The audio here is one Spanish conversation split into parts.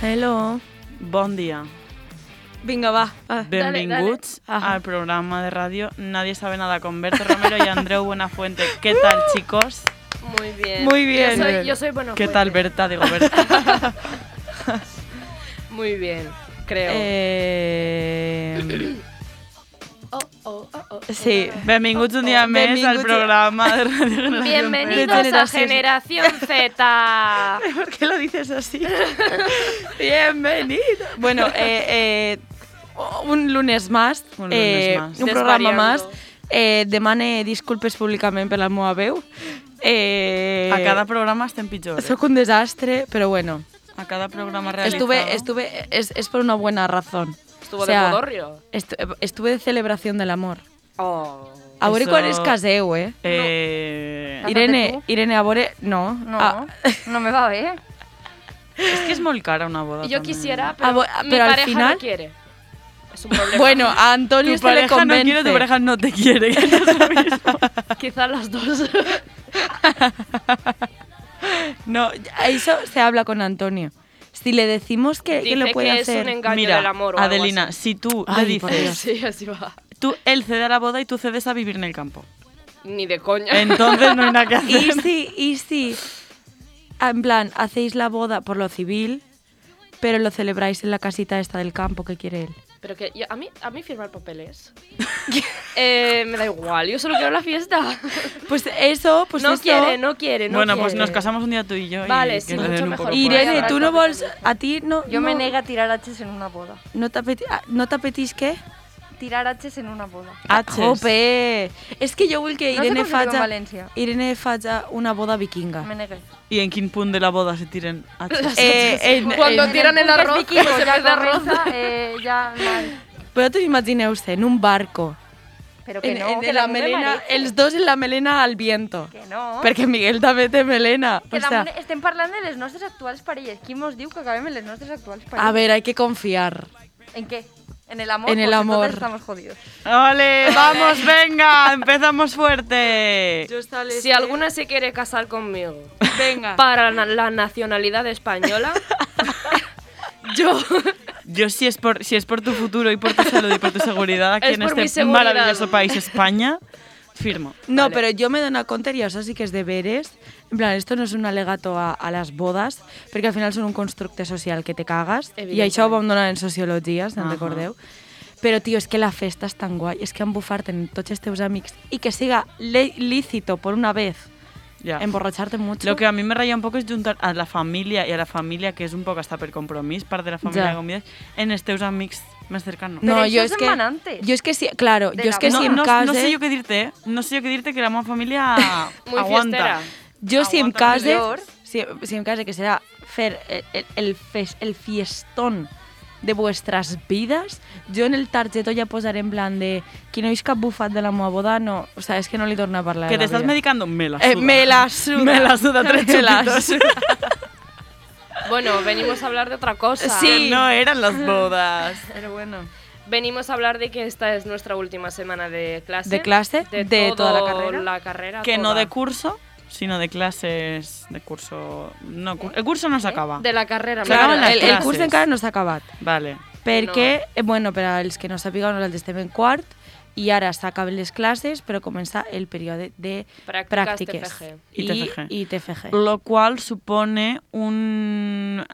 Hello, bon dia. Vinga, va. Ah. va. Benvinguts dale. Ajá. al programa de radio Nadie sabe nada con Berto Romero y Andreu Buenafuente. ¿Qué tal, chicos? Muy bien. Muy bien. Yo soy, yo soy bueno. ¿Qué tal, Berta? Digo, Berta. Muy bien, creo. Eh, Oh, oh, oh, oh. sí, benvinguts un dia més al Benvinguts. programa de Radio Generación Bienvenidos Berta. a Generación Z. ¿Por qué lo dices así? Bienvenido. Bueno, eh, eh, un lunes más, Un lunes eh, más. un programa más. Desvariando. Eh, demane disculpes públicament per la meva veu. Eh, A cada programa estem pitjor. eh? Soc un desastre, però bueno. A cada programa realizado. Estuve, estuve, es, es por una buena razón. Estuvo O sea, de modorrio. estu- estuve de celebración del amor. Oh. A veure Eso- quan es caseu, eh? Eh, Irene, Irene, a veure... No. No, A, no me va a ver. Es que es muy cara una boda Yo también. quisiera, Ah, pero, bo- mi pero al pareja final- no quiere. Es un problema. bueno, a Antonio Tu se le pareja no convence. quiere, tu pareja no te quiere. quizás las dos. No, eso se habla con Antonio. Si le decimos que, que Dice lo puede que es hacer. un engaño Mira, del amor o algo Adelina, así. si tú Ay, le por dices, Dios. Sí, así va. tú, él cede a la boda y tú cedes a vivir en el campo. Ni de coña. Entonces no hay nada que hacer. Y si, y si, en plan, hacéis la boda por lo civil, pero lo celebráis en la casita esta del campo que quiere él. Pero que yo- a, mí, a mí firmar papeles. Eh, me da igual, yo solo quiero la fiesta. Pues eso, pues no esto- quiere, no quiere, no bueno, quiere. pues nos casamos un día tú y yo. y Vale, que sí, le den mucho un mejor. poco. Irene, Voy a tú no hablar vols... A ti no... Yo no, me niego a tirar haches en una boda. No t'apeteix no t'apeteix què? Tirar haches en una boda. H's. Jope! És que jo vull que No sé Irene com se diu en faja... València. Irene faja una boda vikinga. Me negué. Y en King Pun de la boda se tiren H's. Eh, en, Cuando en- tiran el Puntes arroz, vikingos, se ya pierde arroz. comienza, eh, ya mal. Però tu imagineu-se, en un barco, Pero que en, no, en- que en la damunt de melena, marit. els dos en la melena al viento. Que no. Perquè Miguel també té melena. Que O sea, damunt estem parlant de les nostres actuals parelles. Qui mos diu que acabem en les nostres actuals parelles? a ver, hay que confiar. ¿En qué? En el amor. En el porque amor. todas estamos jodidos. ¡Ole! ¡Vamos, venga! ¡Empezamos fuerte! Si alguna se quiere casar conmigo Venga. para na- la nacionalidad española, yo Yo si es por si es por tu futuro y por tu salud y por tu seguridad aquí Es en por mi este seguridad. maravilloso país España, firmo. No, pero yo me doy una contería, o sea, sí que es deberes. En plan, esto no es un alegato a, a las bodas, perquè al final són un constructe social que te cagas, i Evidentment. això ho vam donar en sociologia, si no Ahà. recordeu. Però, tio, és que la festa és tan guai, és que embufar-te en tots els teus amics i que siga le- lícito por una vez Ya. emborracharte mucho. Lo que a mí me raya un poco es juntar a la familia y a la familia que es un poco hasta per compromís, part de la familia Ya. de comidas, en esteus amics més cercanos. No, Pero yo eso es es que emanante. yo es que sí, claro, De yo es la que boda. si no, em no, case, no sé yo qué dirte, eh? No sé yo qué dirte que la meva familia Muy aguanta. fiestera. yo si em Aguanta el case, dolor. si, si em case que será fer el, el, el fes- el fiestón de vuestras vidas, yo en el targeto ya posaré en plan de qui no és cap bufat de la meva boda, no, o sea, es que no li torna a parlar Que de te la estás vida. medicando, me la Eh, suda. me la suda. Me la suda, tres Me la chupitos. suda. Bueno, venimos a hablar de otra cosa. Sí. No eran las bodas. Pero bueno. Venimos a hablar de que esta es nuestra última semana de clase. De clase, de toda la todo carrera. la carrera, Que no toda. de curso, sino de clases, de curso... No, cu- el curso no se acaba. De la carrera. Claro, me Claro, refiero. las el, el curs classes. encara no s'ha acabat. Vale. Perquè, no. bueno, per als que no sàpiguen, nosaltres estem en quart i ara s'acaben les classes, però comença el període de Pràctiques pràctiques. TFG. I TFG. I, i TFG. lo cual supone un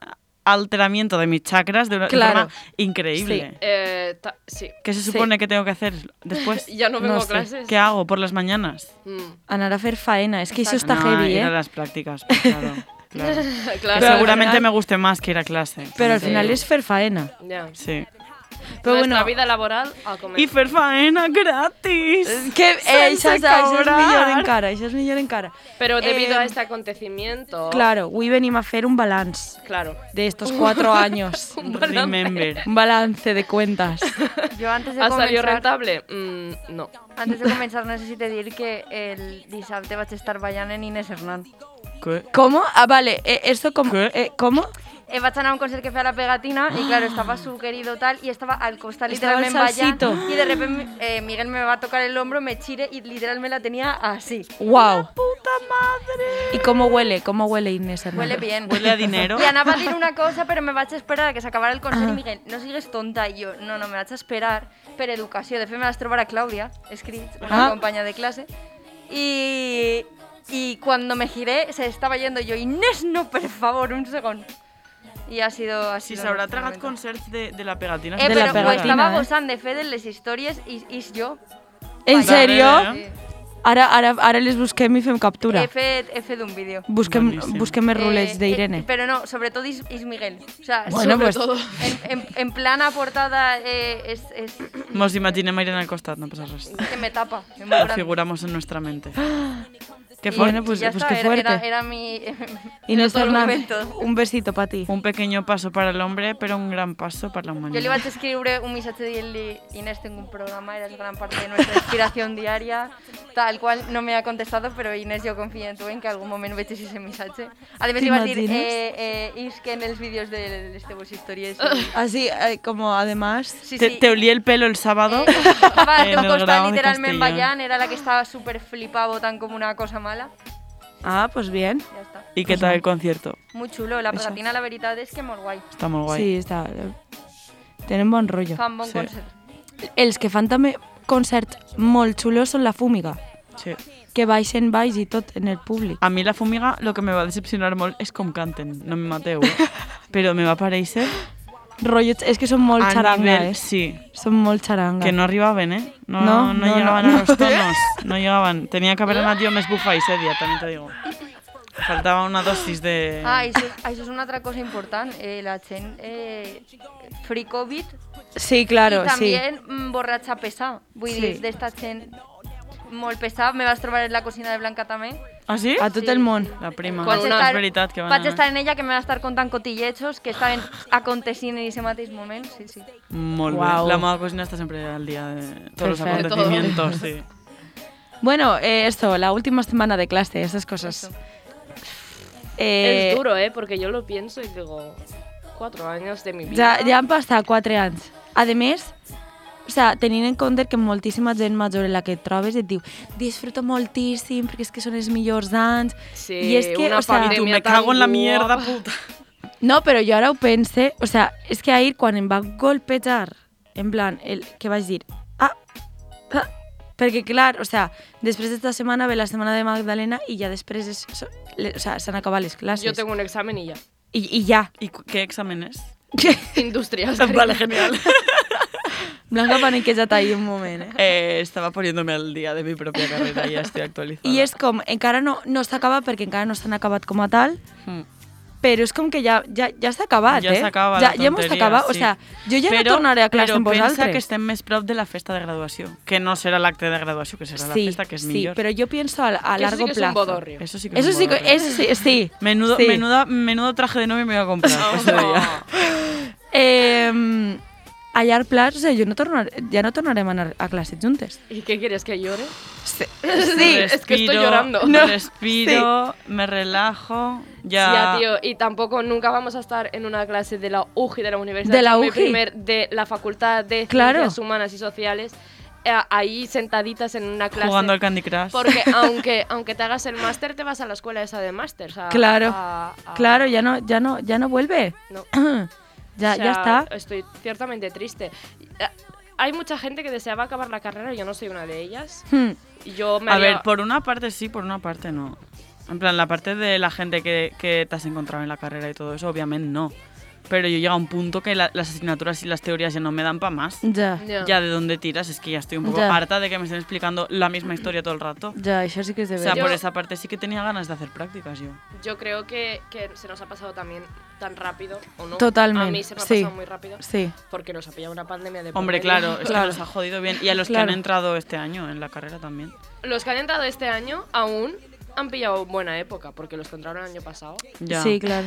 alteramiento de mis chakras de una Claro. forma increíble. Eh, ta- sí. ¿Qué se supone que tengo que hacer después? Ya no vengo No a sé. clases. ¿Qué hago por las mañanas? Mm. Anar a fer faena, és que això està No, heavy, ir a eh? las prácticas, pues, claro. claro. claro. Que seguramente al final- me guste más que ir a clase. Però al final és fer faena. Ya. Sí. Però Nuestra bueno, vida laboral a comer. Y fer faena gratis. que, eh, Sense això, és, això és cobrar. millor encara, això és millor encara. Pero debido Eh, a este acontecimiento. Claro, avui venim a fer un balanç Claro. d'estos quatre anys. Remember. Un balance de cuentas. Yo antes de ¿Ha salido comenzar... rentable? Mm, no. Antes de comenzar necesito decir que el dissabte vaig estar ballant en Inés Hernán. ¿Qué? ¿Cómo? Ah, vale, eh, esto como... ¿Qué? eh, ¿Cómo? eh, vaig anar a un concert que feia la pegatina y claro, estaba su querido tal y estaba al costal Estaba el literalmente vaya salsito. y de repente eh, Miguel me va a tocar el hombro, me chire y literal me la tenía así. ¡Wow! ¡Puta madre! ¿Y cómo huele? ¿Cómo huele Inés Hernández? Huele bien. Huele a dinero. Y Ana va a decir una cosa, pero me vaig a esperar a que s'acabara el concert i Miguel, no sigues tonta. I jo, no, no, me vaig a esperar per educació. De fet, me vaig trobar a Clàudia Escrits, una Ah. companya de classe, i, i quan me giré se estava yendo jo, Inés, no, per favor, un segon. I ha sido... Ha Si sido s'haurà nuestro tragat momento. concerts de, de la pegatina. Eh, de però la ho pegatina, estava eh? gosant de fer de les històries i, i jo. En Vaya. sèrio? Darrere, Sí. Ara, ara, ara les busquem i fem captura. He fet, he fet un vídeo. Busquem, Boníssim. busquem els Eh, rulets eh, d'Irene. Pero no, sobre todo Is, Is Miguel. O sea, Bueno, sobre pues- todo. En, en, en plan aportada eh, es, es Mos imaginem a Irene al costat, no passa res. que me tapa. Es muy Lo grande. figuramos en nuestra mente. Qué Y- fuerte. Bueno, pues- y ya pues está, qué era- Era, fuerte. era mi... Inés todo el Hernández, momento. un besito para ti. Un pequeño paso para el hombre, pero un gran paso para la Yo le humanidad. iba a escribir un mensaje de Eli, Inés, tengo un programa, eres gran parte de nuestra inspiración diaria, tal cual no me ha contestado, pero Inés, yo confío en tu en que algún momento veches ese mensaje. Además, ¿Te iba a decir, imaginas? eh, eh, Is, que en los vídeos de este vos historias... Así, eh, como además... Sí, Te, sí. Eh, te olí el pelo el sábado. eh, Estaba En el costal Grau de literalmente Castellón. en Bayán, era la que estaba súper flipado, tan como una cosa mala. Ah, pues bien. Ya está. ¿Y qué tal el concierto? Muy chulo, la pegatina, la verdad es que muy guay. Está muy guay. Sí, está... Tenen bon rotllo. Fan bon Sí. concert. Els que fan també concerts molt xulos són la fúmiga, Sí. que baixen baix i tot en el públic. A mí la fumiga lo que me va a decepcionar molt és com canten, no me mateu, eh? però me va aparèixer Rotllos, és que són molt a xaranga, nivell... eh? Sí, Són molt xaranga. que no arribaven, eh? No, No, no, no, llegaven no. a los tonos, no llegaven. Tenia que haver anat jo més bufa ese dia, també te digo. Faltava una dosis de... Ah, eso, eso es una otra cosa importante. eh, la Chen, eh, free COVID Sí, claro, y sí. también mm, borracha pesada. Voy Sí. de esta Chen muy pesada. Me vas a trobar en la cocina de Blanca también. Ah, sí? A tot Sí, el món. sí. La prima. Vaig Bueno, Ah, és estar- veritat que van vaig anar. estar en ella que me va a estar contant cotillejos que estaven acontecint en ese mateix moment. Sí, sí. Molt Uau. bé. La pues meva cosina està sempre al dia de tots els Perfecte. acontecimientos, sí. Bueno, eh, esto, la última semana de clase, esas cosas. Eh, Es duro, ¿eh? Porque yo lo pienso y digo, cuatro años de mi vida. Ja, ja han passat 4 anys. A més, o sea, tenint en compte que moltíssima gent major en la que et trobes et diu disfruto moltíssim perquè és que són els millors anys. Sí, I és que, una o sea, I tu, pandèmia me cago en la tan mierda, guapa. puta. No, però jo ara ho pense, o sea, és que ahir quan em va golpejar, en plan, el, que vaig dir, ah, ah, perquè clar, o sea, després d'esta setmana ve la setmana de Magdalena i ja després és, so- le- o sea, s'han acabat les classes. Yo tengo un examen y ya. I, I ja. I cu- què examen és? Industrial. Vale, genial. Blanca paniquejat ahir un moment, eh? Eh, estaba poniéndome al día de mi propia carrera y ya estoy actualizada. I és com, encara no, no s'acaba perquè encara no s'han acabat com a tal, Mm. però és com que ja, ja, ja s'ha acabat, Ja eh? s'acaba ja, la ja mos tonteria, acaba, o sí. sea, jo ja no tornaré a classe però amb pensa que vosaltres. estem més prop de la festa de graduació, que no serà l'acte de graduació, que serà la sí, festa que és sí, millor. però jo pienso a, a Que eso largo sí que es un plazo. bodorrio. Eso sí que Eso es un sí, que- bodorrio. eso sí, eh, sí. Menudo, sí. menuda- menudo traje de novio me voy a comprar pues ese día. Eh, a llarg plaç, o sea, jo no tornaré, ja no tornarem a anar a classe juntes. ¿Y qué quieres que llore? Sí, es que estoy Respiro, llorando. me No. Respiro, me relajo, ya... Ya, tío. Y tampoco nunca vamos a estar en una clase de la UGI de la universidad. De la Soy mi UGI. primer- de la Facultad de Claro. Ciencias Humanas y Sociales. eh, ahí sentaditas en una clase. Jugando al Candy Crush. Porque aunque, aunque te hagas el máster, te vas a la escuela esa de máster. Claro, claro, ya no, ya no, ya no vuelve. No. ya, O sea, ya está. Estoy ciertamente triste. Eh, Hay mucha gente que deseaba acabar la carrera, yo no soy una de ellas. Hmm. Y Yo me A haría- ver, por una parte sí, por una parte no. En plan, la parte de la gente que, que te has encontrado en la carrera y todo eso, obviamente no. Pero yo llego a un punto que la- las asignaturas y las teorías ya no me dan para más. Ja, Ya. Ya de dónde tiras, es que ya estoy un poco Ya. harta de que me estén explicando la misma historia todo el rato. ja, això sí que és de O sea, veres. por esa parte sí que tenía ganas de hacer prácticas yo. Yo creo que, que se nos ha pasado también tan rápido, ¿o no? Totalmente, A mí se me ha sí. pasado muy rápido Sí. porque nos ha pillado una pandemia de por Hombre, medio. claro, es que nos ha jodido bien. Y a los Claro. que han entrado este año en la carrera también. Los que han entrado este año aún han pillado buena época porque los que entraron el año pasado. Ya. Sí, claro.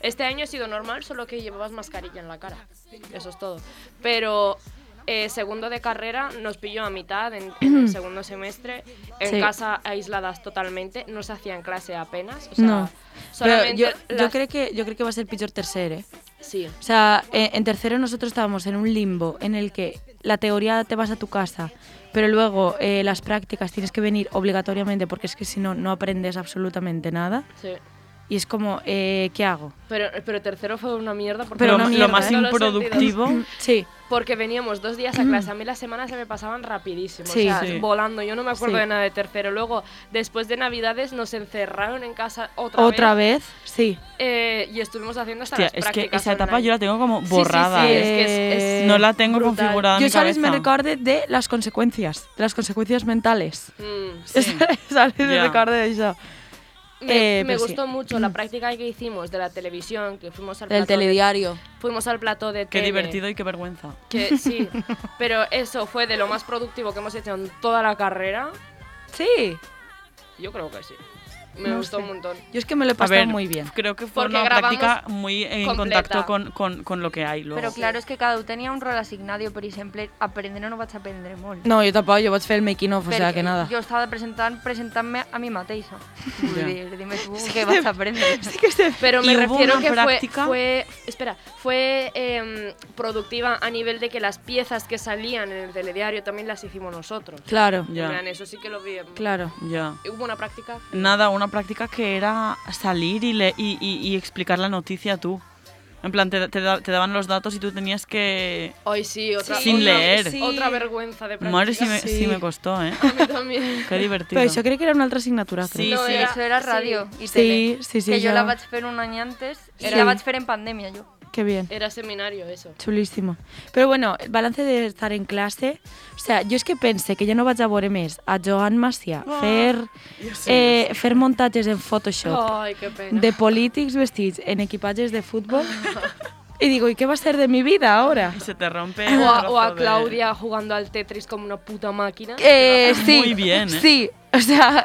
Este año ha sido normal, solo que llevabas mascarilla en la cara. Eso es todo. Pero eh, segundo de carrera nos pilló a mitad en, en el segundo semestre, en Sí. casa aisladas totalmente, no se hacían clase apenas. O sea, No. Pero solamente yo, yo, las- creo que, yo creo que va a ser pitcher tercero, ¿eh? Sí, O sea, eh, en tercero nosotros estábamos en un limbo en el que la teoría te vas a tu casa, pero luego eh, las prácticas tienes que venir obligatoriamente porque es que si no, no aprendes absolutamente nada. sí. Y es como, eh, ¿qué hago? Pero, pero tercero fue una mierda porque, Pero lo, una lo mierda, más ¿eh? improductivo. Sí, porque veníamos dos días a clase. A mí las semanas se me pasaban rapidísimo, Sí. o sea, Sí. volando. Yo no me acuerdo Sí. de nada de tercero. Luego, después de Navidades, nos encerraron en casa otra, otra vez, sí. Eh, y estuvimos haciendo hasta Hostia, las es que prácticas esa etapa online. yo la tengo como Sí, sí, borrada. sí, ¿eh? es que es- es eh, no la tengo brutal. configurada en Yo, mi ¿sabes? Me cabeza. recordé de las consecuencias, de las consecuencias mentales. Mm, sí. ¿Sabes? Me Ya. recordé de eso. Me, Eh, me pero sí. gustó mucho la práctica que hicimos de la televisión, que fuimos al Del plató de, telediario. fuimos al plató de Qué tele, divertido y qué vergüenza. Que sí, pero eso fue de lo más productivo que hemos hecho en toda la carrera. Sí. Yo creo que sí. Me No gustó sé. un montón. Yo es que me lo he A pasado ver, muy bien. creo que fue Porque una grabamos práctica muy en completa. contacto con, con, con lo que hay luego. Però claro, és que cada un tenia un rol assignat, jo, per exemple, aprendre no vaig aprendre molt. No, jo tampoc, jo vaig fer el making of, o Perquè sigui que nada. Jo estava presentant presentant-me a mi mateixa. Vull Ja. dir, dime tu què vaig aprendre. Pero me Y hubo refiero una que fue- práctica- fue, espera, fue em, productiva a nivel de que las piezas que salían en el telediario también las hicimos nosotros. Claro, Ya. En plan, eso sí que lo vi. em, claro. Ya. Hubo una práctica. Nada, una práctica que era salir y, le, y, y- y explicar la noticia tú. En plan, te, te da- te daban los datos y tú tenías que... Ay, sí, otra, Sin otra- leer. sí. Otra vergüenza de práctica. Madre, sí me, sí me costó, ¿eh? A mí también. Qué divertido. Però això crec que era una altra assignatura. crec. Sí, No, Sí, sí. això era sí. ràdio i Sí, tele. sí, sí, que jo jo- la vaig fer un any antes i Sí. la vaig fer en pandèmia, jo. Qué bien. Era seminario eso. Chulísimo. Pero bueno, el balance de estar en clase... O sea, jo és que pense que ja no vaig a veure més a Joan Macià fer, eh, fer muntatges en Photoshop Ay, qué pena. de polítics vestits en equipatges de futbol i digo, ¿y qué va a ser de mi vida ahora? Se te rompe... el o, a, o a trozo de- Claudia jugando al Tetris como una puta máquina. Eh, sí, Muy bien, ¿eh? sí, o sea,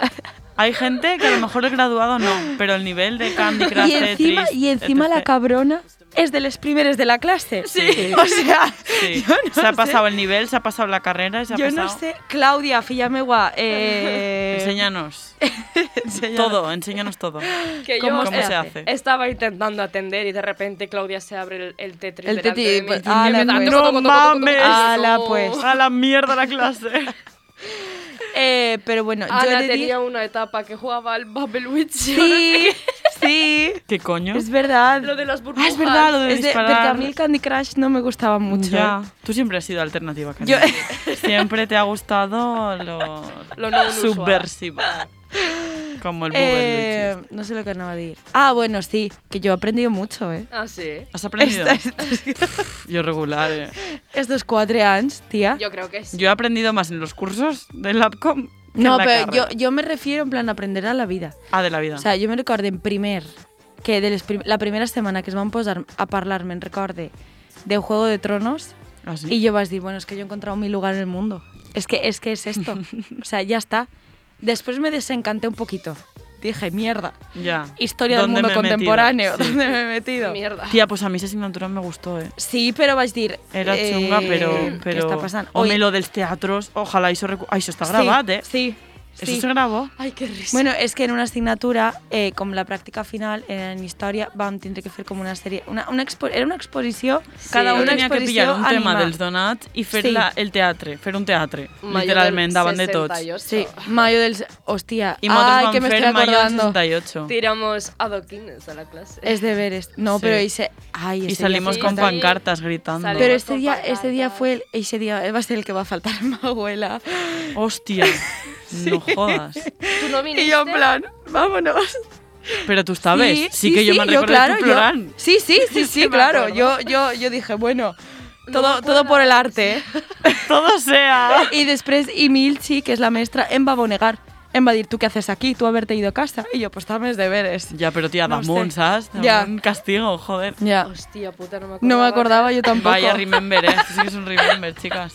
Hay gente que a lo mejor el graduado no, pero el nivel de Candy Crush, y encima, Tetris, y encima la etc.. cabrona es de los primeros de la clase. Sí. O sea, Sí. yo no se ha sé. pasado el nivel, se ha pasado la carrera y se ha Yo pasado... no sé, Claudia, fíjame gua, eh, Enséñanos. enséñanos. todo, enséñanos todo. que ¿Cómo, yo cómo se eh, hace? estaba intentando atender y de repente Claudia se abre el, el Tetris. El delante Tetris, de mí pues, y ala, me da pues. toco, toco, ¡No toco, toco, toco. mames! Ala, No. pues. A la mierda la clase. Eh, pero bueno, yo Ana le di- tenía una etapa que jugaba al Bubble Witch. Sí, sí, ¿Qué coño? es verdad. Lo de las burbujas. Ah, es verdad, lo de Es de- porque disparar. a mí el Candy Crush no me gustaba mucho. Ya. ¿eh? Tú siempre has sido alternativa, Candy. Yo- Siempre te ha gustado lo, Lo no inusual. subversivo. Como el Bubble Eh, no sé lo que acababa de ir. Ah, bueno, sí, que yo he aprendido mucho, ¿eh? Ah, sí. ¿Has aprendido? Esta- estos, Yo regular, eh. estos cuatro años, tía. Yo creo que sí. Yo he aprendido más en los cursos del Labcom. que en no, la pero yo, carrera. yo me refiero en plan a aprender a la vida. Ah, de la vida. O sea, jo me'n recorde en primer, que de les prim la primera setmana que es van posar a parlar, me'n recorde, de Juego de Tronos, Ah, sí. y yo vas dir, bueno, es que yo he encontrado mi lugar en el mundo. Es que es, que es esto. O sea, ya está. Después me desencanté un poquito. Dije, mierda, Ya. historia del ¿Dónde mundo me he metido? contemporáneo, Sí. ¿dónde me he metido? Mierda. Tía, pues a mí esa asignatura me gustó, eh. Sí, pero vas dir... Era eh, chunga, pero... ¿qué pero... está pasando? O Oye, me lo dels teatros, ojalá eso... recu- Ah, eso está sí, grabado, eh. Sí, Eso sí. se grabó. Ay, qué risa. Bueno, és que en una assignatura, eh, com la pràctica final, en història vam tindre que fer com una sèrie... Una, una expo era una exposició, sí, cada Jo una tenia que exposició pillar un tema animal. dels donats i fer Sí. la, el teatre, fer un teatre, Mayo literalment, del davant de tots. 68. Sí, Mayo dels... Hòstia, I nosaltres ai, vam que me fer estoy Mayo del acordando. 68. Tiramos adoquines a la clase. Es de veres. No, Sí. pero ese... Ay, ese I día salimos fue con fatal. sali- pancartas gritando. salimos Pero Hostia. es- este día, este con día pancartas. fue el, ese día va a ser el que va a faltar a mi abuela. Hòstia, no jodas. ¿Tú no viniste? Y yo en plan, vámonos. Pero tú sabes, sí, que yo me yo, recuerdo claro, de yo- tu plan. Sí, sí, sí, sí, me claro. acuerdo. Yo, yo, yo dije, bueno, todo, acuerdo. todo por el arte. ¿eh? Todo sea. Y después, y Milchi, que es la maestra, em va a bonegar. Em va a decir, ¿tú qué haces aquí? Tú haberte ido a casa. Y yo, pues dame los deberes. Ya, pero tía, No Damon, sé. ¿sabes? Ya. Damon castigo, joder. Ya. Hostia puta, no me acordaba. No me acordaba yo tampoco. Vaya remember, ¿eh? Esto sí que es un remember, chicas.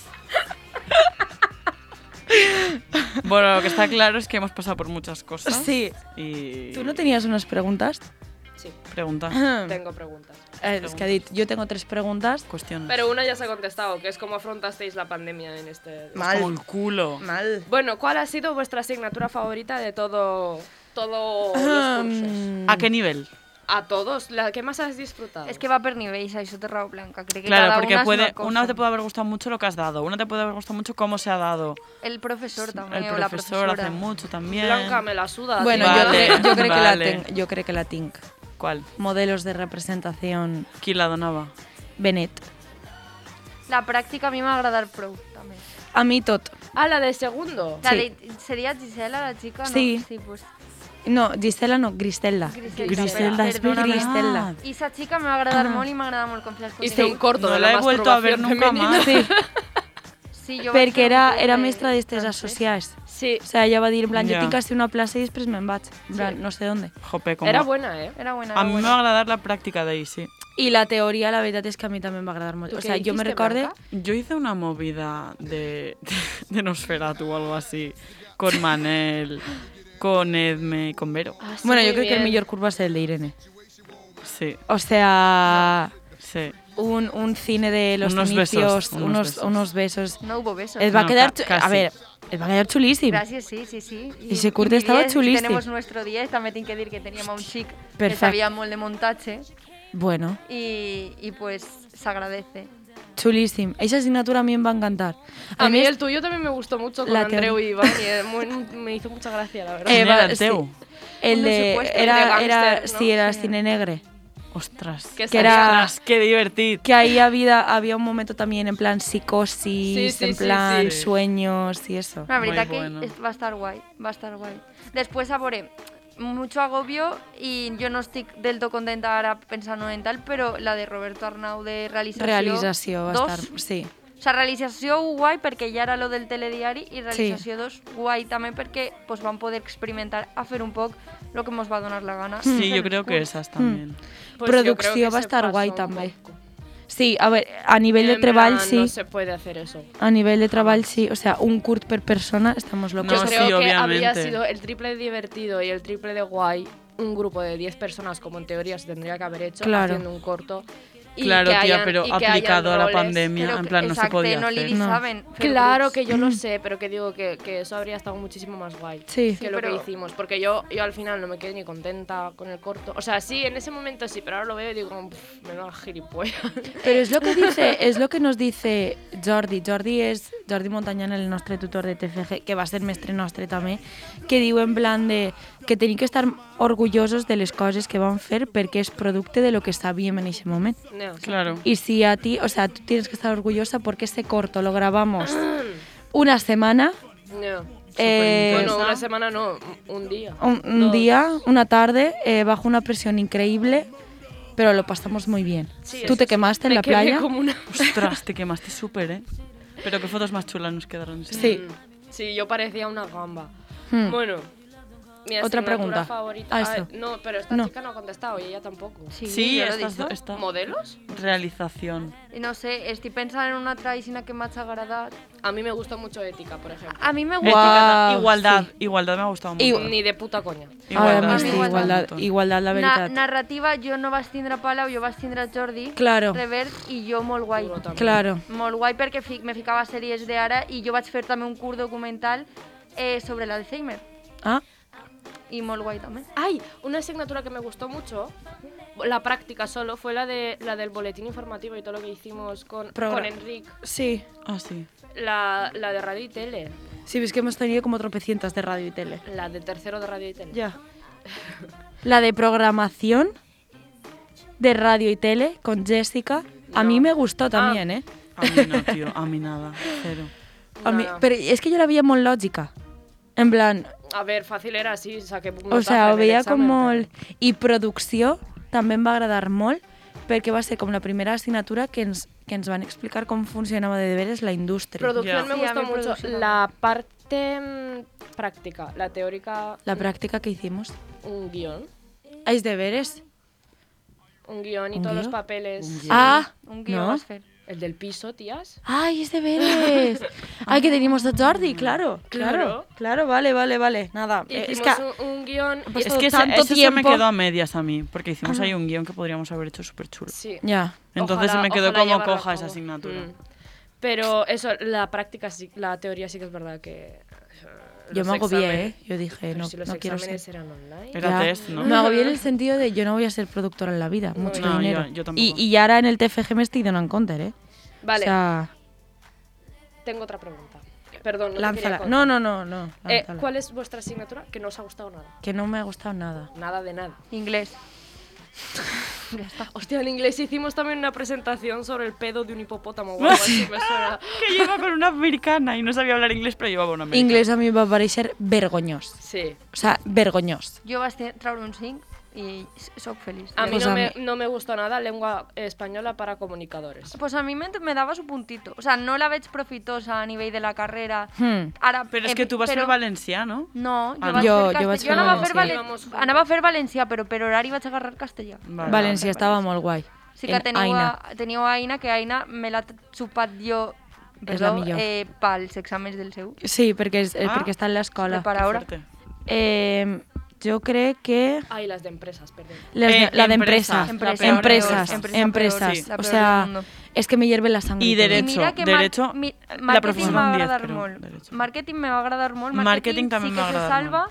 Bueno, lo que está claro es que hemos pasado por muchas cosas. Sí. Y... ¿Tú no tenías unas preguntas? Sí, Pregunta. tengo preguntas. Eh, es que ha dit, jo tengo tres preguntes. Cuestión. Pero una ya se ha contestado, que es cómo afrontasteis la pandemia en este... Como el culo. Mal. Bueno, ¿cuál ha sido vuestra asignatura favorita de todo, todo los cursos? Mm. ¿A qué nivel? A todos, la que más has disfrutado. Es que va per nivells, això té raó Blanca. Crec que Claro, cada porque una, és puede, una, cosa. una te puede haber gustado mucho lo que has dado, una te puede haber gustado mucho cómo se ha dado. El profesor també, el o la profesor professora. hace mucho también. Blanca me la suda. Bueno, tío. jo, Vale, crec, jo, crec vale. que la tenc, jo crec que la tinc. ¿Cuál? Modelos de representación ¿Quién la donaba? Benet. La pràctica a mi m'ha agradat prou, també. A mi tot. Ah, la de segundo. La Sí. de, seria Gisela, la xica? No? Sí. sí pues, No, Gisela no, Griselda. Griselda. Griselda, es Perdona. verdad. Griselda. I sa xica m'ha agradat molt i m'ha agradat molt com feia els Hice un continguts. corto No de la, la he vuelto a ver masturbación nunca femenina. más. Sí, Sí, jo vaig perquè fer un era, curs era de mestra d'estes francès. associats. Sí, O sea, ella va dir, en plan, Ja. jo tinc que fer una plaça i després me'n vaig. En plan, no sé on. Jope, como... era buena, ¿eh? Era buena, era A mí me buena. va a agradar la práctica de ahí, sí. I la teoria, la veritat és que a mi també em va agradar molt. ¿Tú O qué sea, jo me dijiste, recorde... Blanca? Yo hice una movida de, de Nosferatu o algo así, con Manel, con Edme y con Vero. Ah, Bueno, jo Ah, muy crec que el bien. millor curs va ser el de Irene. Sí, O sea, sí. un, un cine de los Unos besos, inicios, unos unos, besos. unos besos. No hubo besos. Es va a No, quedar... ca- chu- a casi. ver, es va a quedar chulísimo. Gracias, sí, sí, sí. I se curte estava xulíssim. Tenemos nuestro 10, també tinc que dir que teníem un xic que Perfecte. sabia molt de muntatge Bueno, i, i pues s'agradece. chulísimo. Esa asignatura a mí me va a encantar. A mí més, el tuyo también me gustó mucho con La Andreu teoría. y Iván y eh, muy- me hizo mucha gracia, la verdad. Eh, ¿Quién era va- el sí. teu? El Un de, presupuesto era, de era, gángster, ¿no? sí, era Sí. cine negre. Ostras, Que que era- salía- ostras, qué divertido. Que ahí había, había un momento también en plan psicosis, Sí, sí, en sí, plan sí. sueños y eso. La veritat Muy que bueno. es- va a estar guay, va a estar guay. Después, a veure, mucho agobio y yo no estoy del todo contenta ahora pensando en tal, pero la de Roberto Arnau de realización. Realització va a estar... dos. Sí. O sea, realización guay porque ya era lo del telediari y realización 2 guay también porque pues van poder experimentar a hacer un poco lo que nos va a donar la gana. Sí, yo creo que esas también. Pues yo creo que Producción va a se estar pasó guay un también. poco. Sí, a ver, a nivel de En plan, treball sí. No se puede hacer eso. A nivel de treball sí. O sea, un curt per persona, estamos locos. No, Yo sí, creo que habría obviamente. sido el triple de divertido y el triple de guay un grupo de 10 personas, como en teoría se tendría que haber hecho, Claro. haciendo un corto. y Claro, que tía, hayan- pero y que hayan aplicado a la roles. pandemia, en plan, no se podía no li hacer. No. saben. fer Claro grups. que yo lo sé, pero que digo que, que eso habría estado muchísimo más guay. Sí. que lo pero- que hicimos, porque yo, yo al final no me quedé ni contenta con el corto. O sea, sí, en ese momento sí, pero ahora lo veo y digo, "Pff, menuda gilipollas. Pero es lo que dice, es lo que nos dice Jordi. Jordi és Jordi Montañana, el nostre tutor de TFG, que va ser mestre nostre també, que diu en plan de que tenim que estar orgullosos de les coses que van fer perquè és producte de lo que sabíem en aquest moment. No, Claro. Y si a ti, o sea, tú tienes que estar orgullosa porque ese corto lo grabamos una semana, no. eh, Oh, Bueno, una semana no, un día. un, un Dos. día, una tarde, eh, bajo una presión increíble, pero lo pasamos muy bien. Sí, Tú eso te sí. quemaste en Me la quemé playa. como una- Ostras, te quemaste súper, ¿eh? Pero qué fotos más chulas nos quedaron. Sí. Sí. Mm. Sí, yo parecía una gamba. Hmm. Bueno, mi Otra asignatura pregunta. favorita. Ah, Ay, eso. no, pero esta No. chica no ha contestado y ella tampoco. Sí, Sí, jo lo he estas- dicho. esta ¿Modelos? realización. I No sé, estoy pensando en una traicina que m'ha agradat. A mí me gustó mucho ética, por ejemplo. A mí me Guau. gusta. Etiqueta, igualdad, igualdad me ha gustado mucho. Igu- Ni de puta coña. Ahora sí, mismo, igualdad. igualdad, Montón. igualdad, la Na, verdad. narrativa, jo no vaig tindre Palau, jo vaig tindre Jordi, Claro, Revert i jo molt guai. Duro también. claro. Molt guai perquè fi, me ficava a sèries d'ara i jo vaig fer també un curt documental eh, sobre l'Alzheimer. Ah, I molt guai també. Ay, una asignatura que me gustó mucho, la práctica solo, fue la de la del boletín informativo y todo lo que hicimos con, Programa. con Enric, sí. Ah, sí. la, la de radio y tele, Sí, ves que hemos tenido como tropecientas de radio y tele. la de tercero de radio y tele. Ya. La de programación de radio y tele con Jessica. A mí No. me Ah. gustó también, ¿eh? A mí no, tío, a mí nada, cero. A mí, Nada. pero es que yo la veía muy lógica. En plan, A ver, fácil era así, saqué O puntaje sea, en ho el veia com examen, molt... I producció també em va agradar molt perquè va ser com la primera assignatura que ens, que ens van explicar com funcionava de deberes la indústria. Ya. Producción me Sí, a gustó mí mucho. producción La parte mm, práctica, la teórica, la pràctica que hicimos. un guión. Els deberes? Un guión y ¿Un todos los guión? papeles. Ah, Un guió no? vas fer. El del piso, tías. ¡Ay, es deberes! ¡Ay, que teníamos a Jordi! Claro, claro, claro, vale, vale, vale. Nada, eh, es Hicimos que un, un guión. ha y- Es pasado que ese- tanto ese se me tiempo. quedó a medias a mí, porque hicimos ahí un guión que podríamos haber hecho súper chulo. Sí. Ya. Entonces Ojalá- se me quedó ojalá como llevarlo a coja esa cabo. asignatura. Mm. Pero eso, la práctica, sí, la teoría sí que es verdad que. eh, Yo los me agobié, ¿eh? exámenes- Yo dije, pero no, si los no quiero ser. exámenes eran online. Era Ya. test, ¿no? Me agobié en el sentido de yo no voy a ser productora en la vida, mucho No, dinero. yo- yo tampoco. y, y ahora en el TFG me estoy dando en counter, ¿eh? Vale, O sea, tengo otra pregunta. Perdón, no te quería lánzala. cortar. No, no, no, no. Eh, lánzala. ¿Cuál es vuestra asignatura que no os ha gustado nada? Que no me ha gustado nada. Nada de nada. Inglés. Hostia, en inglés hicimos también una presentación sobre el pedo de un hipopótamo. o algo así, me suena. Que yo iba con una americana y no sabía hablar inglés, pero llevaba una americana. Inglés a mí me va a parecer vergoñós. Sí. O sea, vergoñós. Jo vaig te- treure un 5 i s- sóc feliç. A mí Pues no, a me, mí- no me gustó nada lengua española para comunicadores. Pues a mi me, me daba su puntito. O sea, no la veig profitosa a nivell de la carrera. Hmm. Ara, Pero es em- que tú vas però- por valencià, ¿no? No, jo, Ah, vaig no. Jo- fer jo castell- vaig jo fer anava, a fer valencià. valen... Íbamos juntos. anava a fer valencià, però per horari vaig agarrar castellà. Valencia Valencia estaba muy guay. Sí En que teniu, Aina. a, teniu a Aina, que Aina me l'ha xupat jo És la perdó, millor. eh, pels exàmens del seu. Sí, perquè, és, eh, Ah. perquè està en l'escola. Prepara- ahora. Eh, jo crec que... Ay, las de empresas, perdón. les Eh, de- la de empresa. empresa. Eh, Empresa. Empresas. La peor de Empresas. todas. empresas. Sí. La O peor del sea, mundo. es que me hierve la sangre. Y todo. I derecho. mira que derecho, mi, la marketing professora m'ha un diez, agradat però, molt. derecho. Marketing m'ha agradat molt. Marketing també sí m'ha que se agradat salva.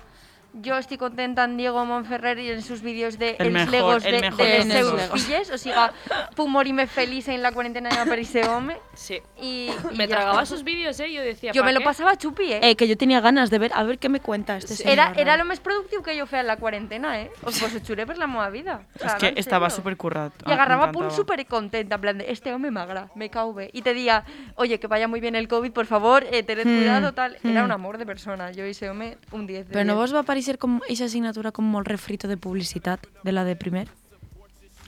Jo estic contenta en Diego Monferrer i en sus vídeos de El mejor- els legos el de, mejor de en els seus legos. filles, o siga, puc morir-me feliç en la quarantena de per ese home. Sí. I, i Me ja tragaba està. sus vídeos, ¿eh? Yo decía. Jo ¿pa me lo qué? passava xupi, eh? Eh, que yo tenía ganas de ver, a ver qué me cuenta este señor. Era, era lo més productiu que jo feia en la quarantena, eh? Os vos ho xuré per la meva vida. O Es sea, que en estaba serio. súper currado. Y agarraba pun súper contenta, en plan de, este hombre me agrada, me caube. Y te diga, oye, que vaya muy bien el COVID, por favor, eh, tened Hmm, cuidado, tal. Era hmm. un amor de persona, yo hice hombre un 10 de Però no 10. vos va aparèixer com eixa assignatura com molt refrito de publicitat de la de primer?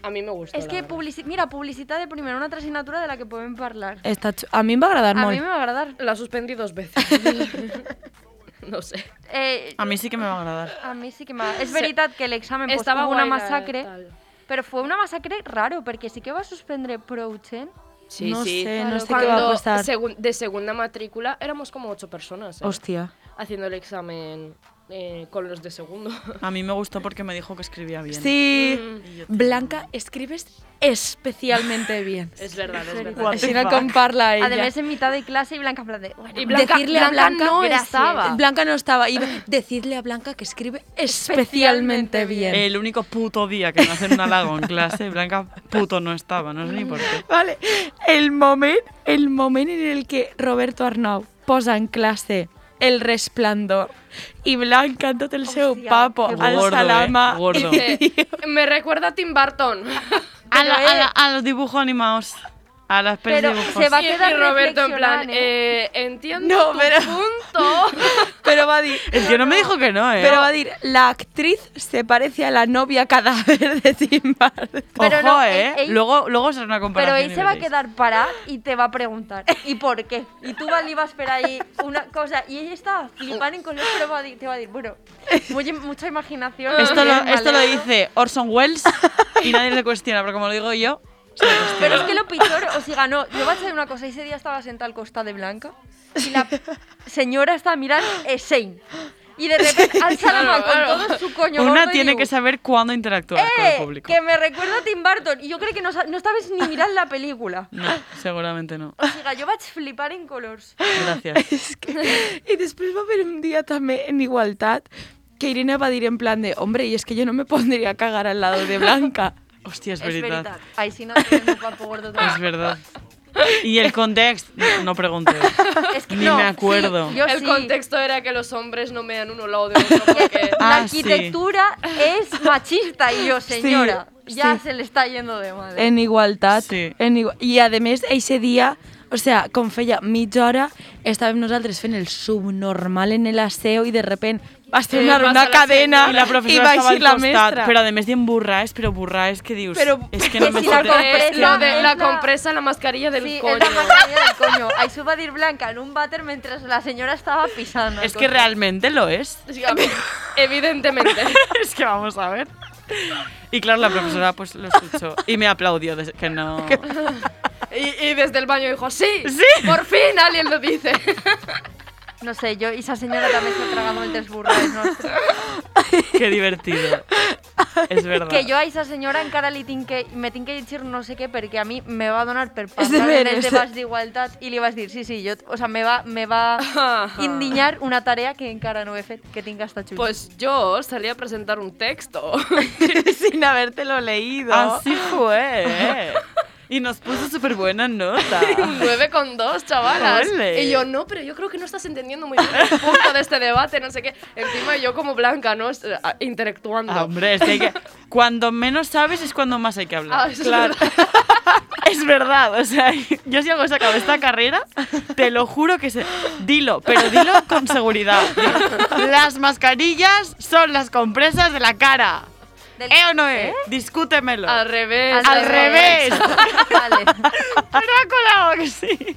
A mí me gustó. Es la que, verdad. publici- mira, publicidad de primero, una otra asignatura de la que pueden hablar. Està xu- a mi em va agradar A molt. mí me va a agradar. La suspendí dos veces. no sé. Eh, A mí sí que me va a agradar. a mí sí que me Es verdad que el examen pues, Estaba hubo una guay la- masacre, tal. pero fue una masacre raro, porque sí que va a suspender Prochen. Sí, no sí. sé, no Claro, sé Cuando què va passar. segun- de segunda matrícula éramos como ocho personas ¿eh? Hòstia. haciendo el examen eh, con los de segundo. A mí me gustó porque me dijo que escribía bien. Sí. Y Mm. yo- Blanca, escribes especialmente bien. es verdad, es verdad. What the Així no fuck. com parla ella. Además, en mitad de clase y Blanca en plan de, bueno, Y Blanca, decirle a Blanca Blanca, no gracias. estaba. Blanca no estaba. Y decidle a Blanca que escribe especialmente Especialmente bien. El único puto día que me hacen un halago en clase, Blanca puto no estaba, no sé ni por qué. Vale. El moment, el moment en el que Roberto Arnau posa en clase el resplandor i Blanca en tot el seu Hòstia, papo que al Gordo, eh? salama. Gordo. Dice, me recuerda a Tim Burton. A, la- a la- eh, a los dibujos animados. A las pelis Pero dibujos. se va a Y- quedar y Roberto en plan, reflexionant, eh. eh, entiendo No, tu pero- punto. Pero va a dir, El tío no me dijo que no, ¿eh? pero va a dir, la actriz se parece a la novia cadáver de Tim Burton. Pero Ojo, no, ¿eh? él- él- luego, luego será una Pero comparación. él y se va a veréis. quedar parado y te va a preguntar, ¿y por qué? Y tú vas- le vas a esperar ahí una cosa. Y ella está flipando en color, pero va a di- te va a decir, bueno, muy- mucha imaginación. Esto lo, bien, esto lo vale". dice Orson Welles y nadie le cuestiona, pero como lo digo yo, este. Pero es que lo pintor, o sea, no, yo voy a decir una cosa. Ese día estaba sentada al costado de Blanca y la señora está mirando Sein. Y de repente alza la mano con todo su coño una gordo y tiene digo, que saber cuándo interactuar con el "Eh, público. que me recuerda a Tim Burton. Y yo creo que no, sa- no sabes ni mirar la película. No, seguramente no. O sea, yo voy a flipar en colores. Gracias. És que... I després va haver un dia també en igualtat que Irene va dir en plan de, hombre, y es que yo no me pondría a cagar al lado de Blanca. Hostia, es Es verdad. verdad. Ahí sí no tenemos papo gordo otra vez. Es verdad. Y el contexto, no pregunté. Es que Ni no, me acuerdo. sí, yo el sí. contexto era que los hombres no me dan uno al lado de otro porque Ah, La arquitectura es machista y yo, señora, ya se le está yendo de madre. En igualtat. Sí. En igual... I a més, eixe dia, o sea, com feia mitja hora, estàvem nosaltres fent el subnormal en el aseo i de repent va estrenar passa una la cadena Y la i profesora va estaba al eixir la costat, mestra. pero además de emburraes, pero burraes que dius. Pero- es que no que me si la joder. compré- es lo de la es la- compresa, la mascarilla del Sí, coño. es la mascarilla del coño. Ahí su badir blanca en un váter mientras la señora estaba pisando. el Es que coño. realmente lo es. Sí, a mí, Evidentemente. es que vamos a ver. Y claro, la profesora pues lo escuchó y me aplaudió, des- que no... Y, y desde el baño dijo, sí, Sí. por fin alguien lo dice. No sé, yo y esa señora también se ha tragado el desburgues, no sé. Qué divertido. Es verdad. Que jo a aquesta senyora encara li tinc que, me tinc que llegir no sé què perquè a mi me va donar per És parlar en deberes. els debats d'igualtat i li vas dir, sí, sí, jo, o sea, me va, me va indignar una tarea que encara no he fet, que tinc hasta xulo. Pues yo salí a presentar un texto. Sin habértelo leído. Así fue. ¿eh? Y nos puso súper buena nota. Un 9,2, chavalas. Ole. Y yo, no, pero yo creo que no estás entendiendo muy bien el punto de este debate, no sé qué. Encima yo como blanca, ¿no? Es- eh, Interactuando. Ah, hombre, es que, hay que- cuando menos sabes es cuando más hay que Ah, hablar. eso es verdad. Es verdad, o sea, yo si hago sacado esta carrera, te lo juro que sé. Dilo, pero dilo con seguridad. Las mascarillas son las compresas de la cara. Del- ¿Eh o no es? Discútemelo. Al revés. Al revés. Vale. ¿Verdad, Colau, que sí?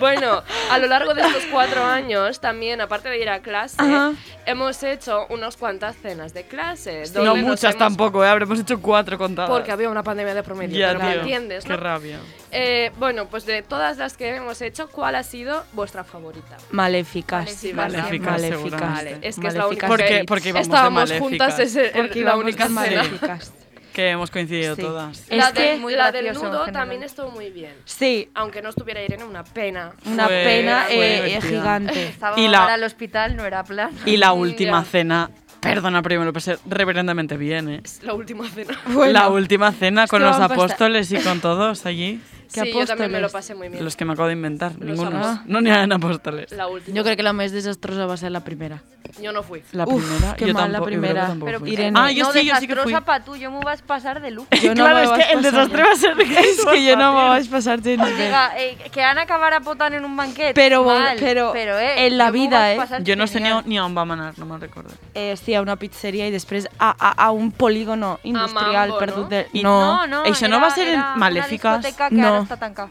Bueno, a lo largo de estos cuatro años, también, aparte de ir a clase, Ajá. hemos hecho unas cuantas cenas de clase. No donde nos muchas hemos- tampoco, ¿eh? habremos hecho cuatro contadas. Porque había una pandemia de promedio, ya, pero me tío, entiendes, Qué ¿no? rabia. Eh, bueno, pues de todas las que hemos hecho, ¿cuál ha sido vuestra favorita? Maléficas. Sí, maléficas, Maléficas. seguramente. Es que es la única Maléficas. Porque- que porque íbamos de estábamos maléficas. juntas ese, Porque la íbamos única con escena. maléficas. Que hemos coincidido Sí. todas. Es la que- de- muy la del gracioso en nudo general. también estuvo muy bien. Sí, Aunque no estuviera Irene, una pena. una Fue- pena fue eh, divertida. gigante. Estaba Y y la- al hospital, no era plan. Y la Mm, última ya. cena, perdona, pero yo me lo pasé reverendamente bien, ¿eh? Es la última cena. la última cena con que los van pasta. apóstoles y con todos allí. ¿Qué sí, yo también me apóstoles? lo pasé muy bien. Los que me acabo de inventar, ninguno. apóstoles. No ni eran apóstoles. La última. Yo creo que la más desastrosa va a ser la primera. Yo no fui. La Uf, primera, qué yo mal la tampoco, yo creo que primera. tampoco Pero fui. Irene- ah, yo no, sí, yo sí que fui. desastrosa pa' tú, yo me vas a pasar de lujo. Yo no claro, me es vas que el pasar. desastre va a ser Es que yo no me vas a pasar O diga, eh, que han acabar a potar en un banquet. Pero, mal, pero, eh, en la yo m'ho vida, eh. vaig passar Yo no sé ni a, genial. ni a on va manar, no me'n recordo. eh, sí, a una pizzeria i després a, a, a un polígono industrial Mambo, perdut no? de... I- No, No, no, Això no era- va ser en era una Maléficas? discoteca que No. ara està tancada.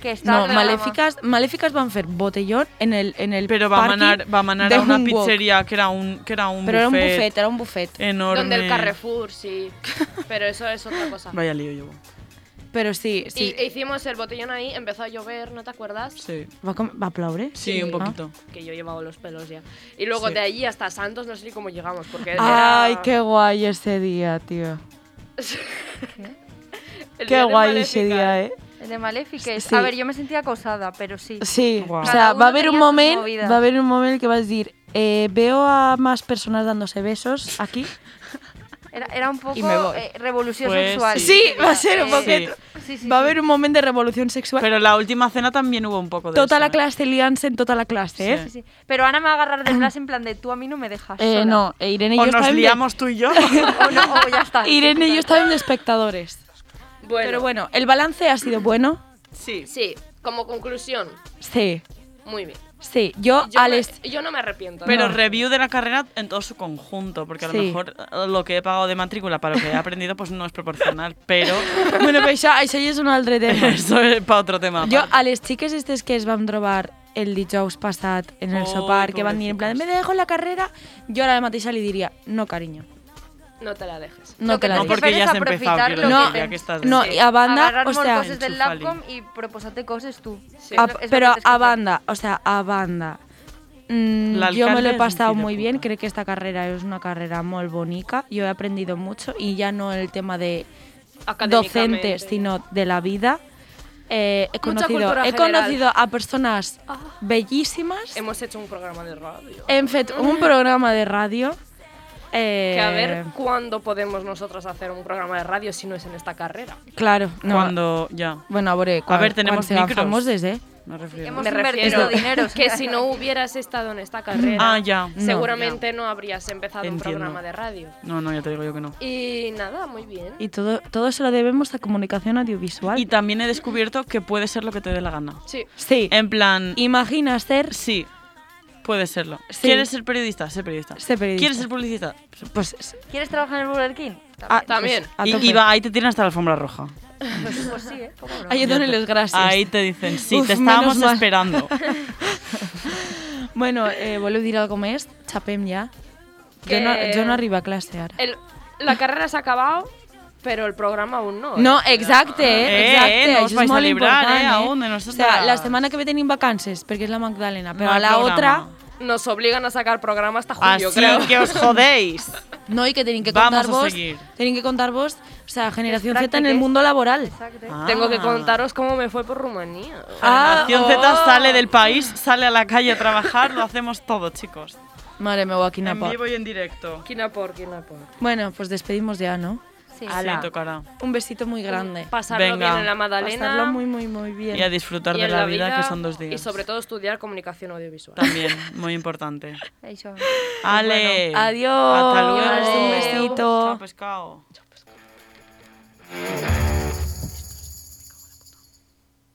Que està no, arreglada. Maléficas, Maléficas van fer botellón en el, en el Pero va a pàrquing manar, va a, manar de a una Hung Wok. pizzería que era un, que era un Pero era un buffet buffet, era un buffet. enorme. Donde el Carrefour, sí. Pero eso es otra cosa. Vaya lío llevo. Pero sí, sí. Y eh, hicimos el botellón ahí, empezó a llover, ¿no te acuerdas? Sí. ¿Va, com- va a ploure? Sí, Ah. un poquito. Que yo llevaba los pelos ya. Y luego Sí. de allí hasta Santos, no sé ni cómo llegamos, porque era- Ay, qué guay ese día, tío. el día Qué de guay ese Maléfica. día, eh. El de Maléficas. Sí. A ver, yo me sentía acosada, pero sí. Sí, Guau. o Cada sea, uno va a haber un tenía sus momento, movidas. va a haber un momento en el que vas a decir, eh, veo a más personas dándose besos aquí. Era, era un poco Y me voy. eh, revolución Pues sexual. Sí, va a ser un poquet. Sí, sí, Va a sí. haber un momento de revolución sexual. Pero la última cena también hubo un poco de tota eso, la ¿eh? clase lianse en tota la clase, Sí. ¿eh? Sí, sí. Pero Ana me va a agarrar del brazo en plan de tú a mí no me dejas. Eh, sola". no, e Irene y O yo nos estàvem de- liamos tú y yo. O no, o ya está. Irene y yo estábamos de espectadores. Bueno, Pero bueno, el balance ha sido bueno. sí. sí, como conclusión, Sí, muy bien. sí. Yo, Yo, Oh, Alex, me- yo no me arrepiento. Pero no. review de la carrera en todo su conjunto, porque a lo Sí. mejor eh, lo que he pagado de matrícula para lo que he aprendido pues no es proporcional, pero bueno, però això, això ja és un altre tema. eso es para otro tema. Jo, aparte. a les xiques estes que es vam trobar el dijous passat en el Oh, sopar, que van dir en plan, me pobrecitas. dejo la carrera, jo ara mateixa li diria, no, cariño, No te la dejes. no Lo te que la no tens que dejo. porque fer ya és has empezado, aprofitar quiero lo decir, que ya tens. que estás No, desde- y a banda, Agarrar o sea, cosas del enchufali. lapcom y proposate cosas tú. Sí. a- Es lo que pero tens que a fer. banda, o sea, a banda, mm, La yo me lo alcalde he es un pasado fill de muy puta. bien, creo que esta carrera es una carrera muy bonita, yo he aprendido mucho y ya no el tema de Académicamente. docentes, sino de la vida. Eh, he Mucha conocido, cultura he general. Ah. Em- conocido a personas bellísimas. Hemos hecho un programa de radio. Hem fet un programa de radio. Eh, que a ver cuándo podemos nosotras hacer un programa de radio si no es en esta carrera. Claro, no. cuando ya Bueno, a ver, A ver, tenemos cuando micros. ¿eh? me refiero. hemos- Me refiero invertido dinero, que señora. si no hubieras estado en esta carrera, Ah, ya. No, seguramente no habrías empezado un Entiendo. programa de radio. No, no, ya te digo yo que no. Y nada, muy bien. Y todo, todo se lo debemos a comunicación audiovisual. Y también he descubierto que puede ser lo que te dé la gana. Sí. sí. En plan, Imagina ser, sí, puede serlo. Sí. ¿Quieres ser periodista? Sé periodista. Sé este periodista. ¿Quieres ser publicista? pues, s- ¿Quieres trabajar en el Burger King? Ah, a- También. a Y, tope. y va, ahí te tienen hasta la alfombra roja. Pues, pues sí, ¿eh? Poco broma. Ayúdame los gracias. Ahí te dicen, sí, Uf, te estábamos menos mal. esperando. Bueno, eh, voleu dir algo més? Chapem ja. Que- Eh, Jo no, jo no arribo a clase ara. El- la carrera se ha acabado Pero el programa aún no. No, eh. exacte, Eh, eh, exacte. eh, no us això vais és a molt librar, important, eh, eh? aún de o nosotros sea, la las- semana que ve tenim vacances, perquè és la Magdalena, però No a la programa. otra Nos obligan a sacar programa hasta julio, Así creo. Ah, que os jodéis. no, i que tenim que Vamos contar a vos, seguir. tenim que contar vos, o sea, generación Es Z en el práctica. mundo laboral. Exacto. Tengo que Ah. contaros cómo me fue por Rumanía. Ah, Acción Z sale del país, sale a la calle a trabajar, lo hacemos todo, chicos. Mare meva, quina En por. vivo y en directo. ¿Quién por? ¿Quién por? Bueno, pues despedimos ya, ¿no? Sí. Sí, tocará. Un besito muy grande. Pasarlo Venga. bien en la Madalena. Pasarlo muy, muy, muy bien. Y a disfrutar y de en la vida, que son dos días. Y sobre todo estudiar comunicación audiovisual. También, muy importante. Eso. Ale. Adiós. Hasta luego. Un besito. Chao, pescado.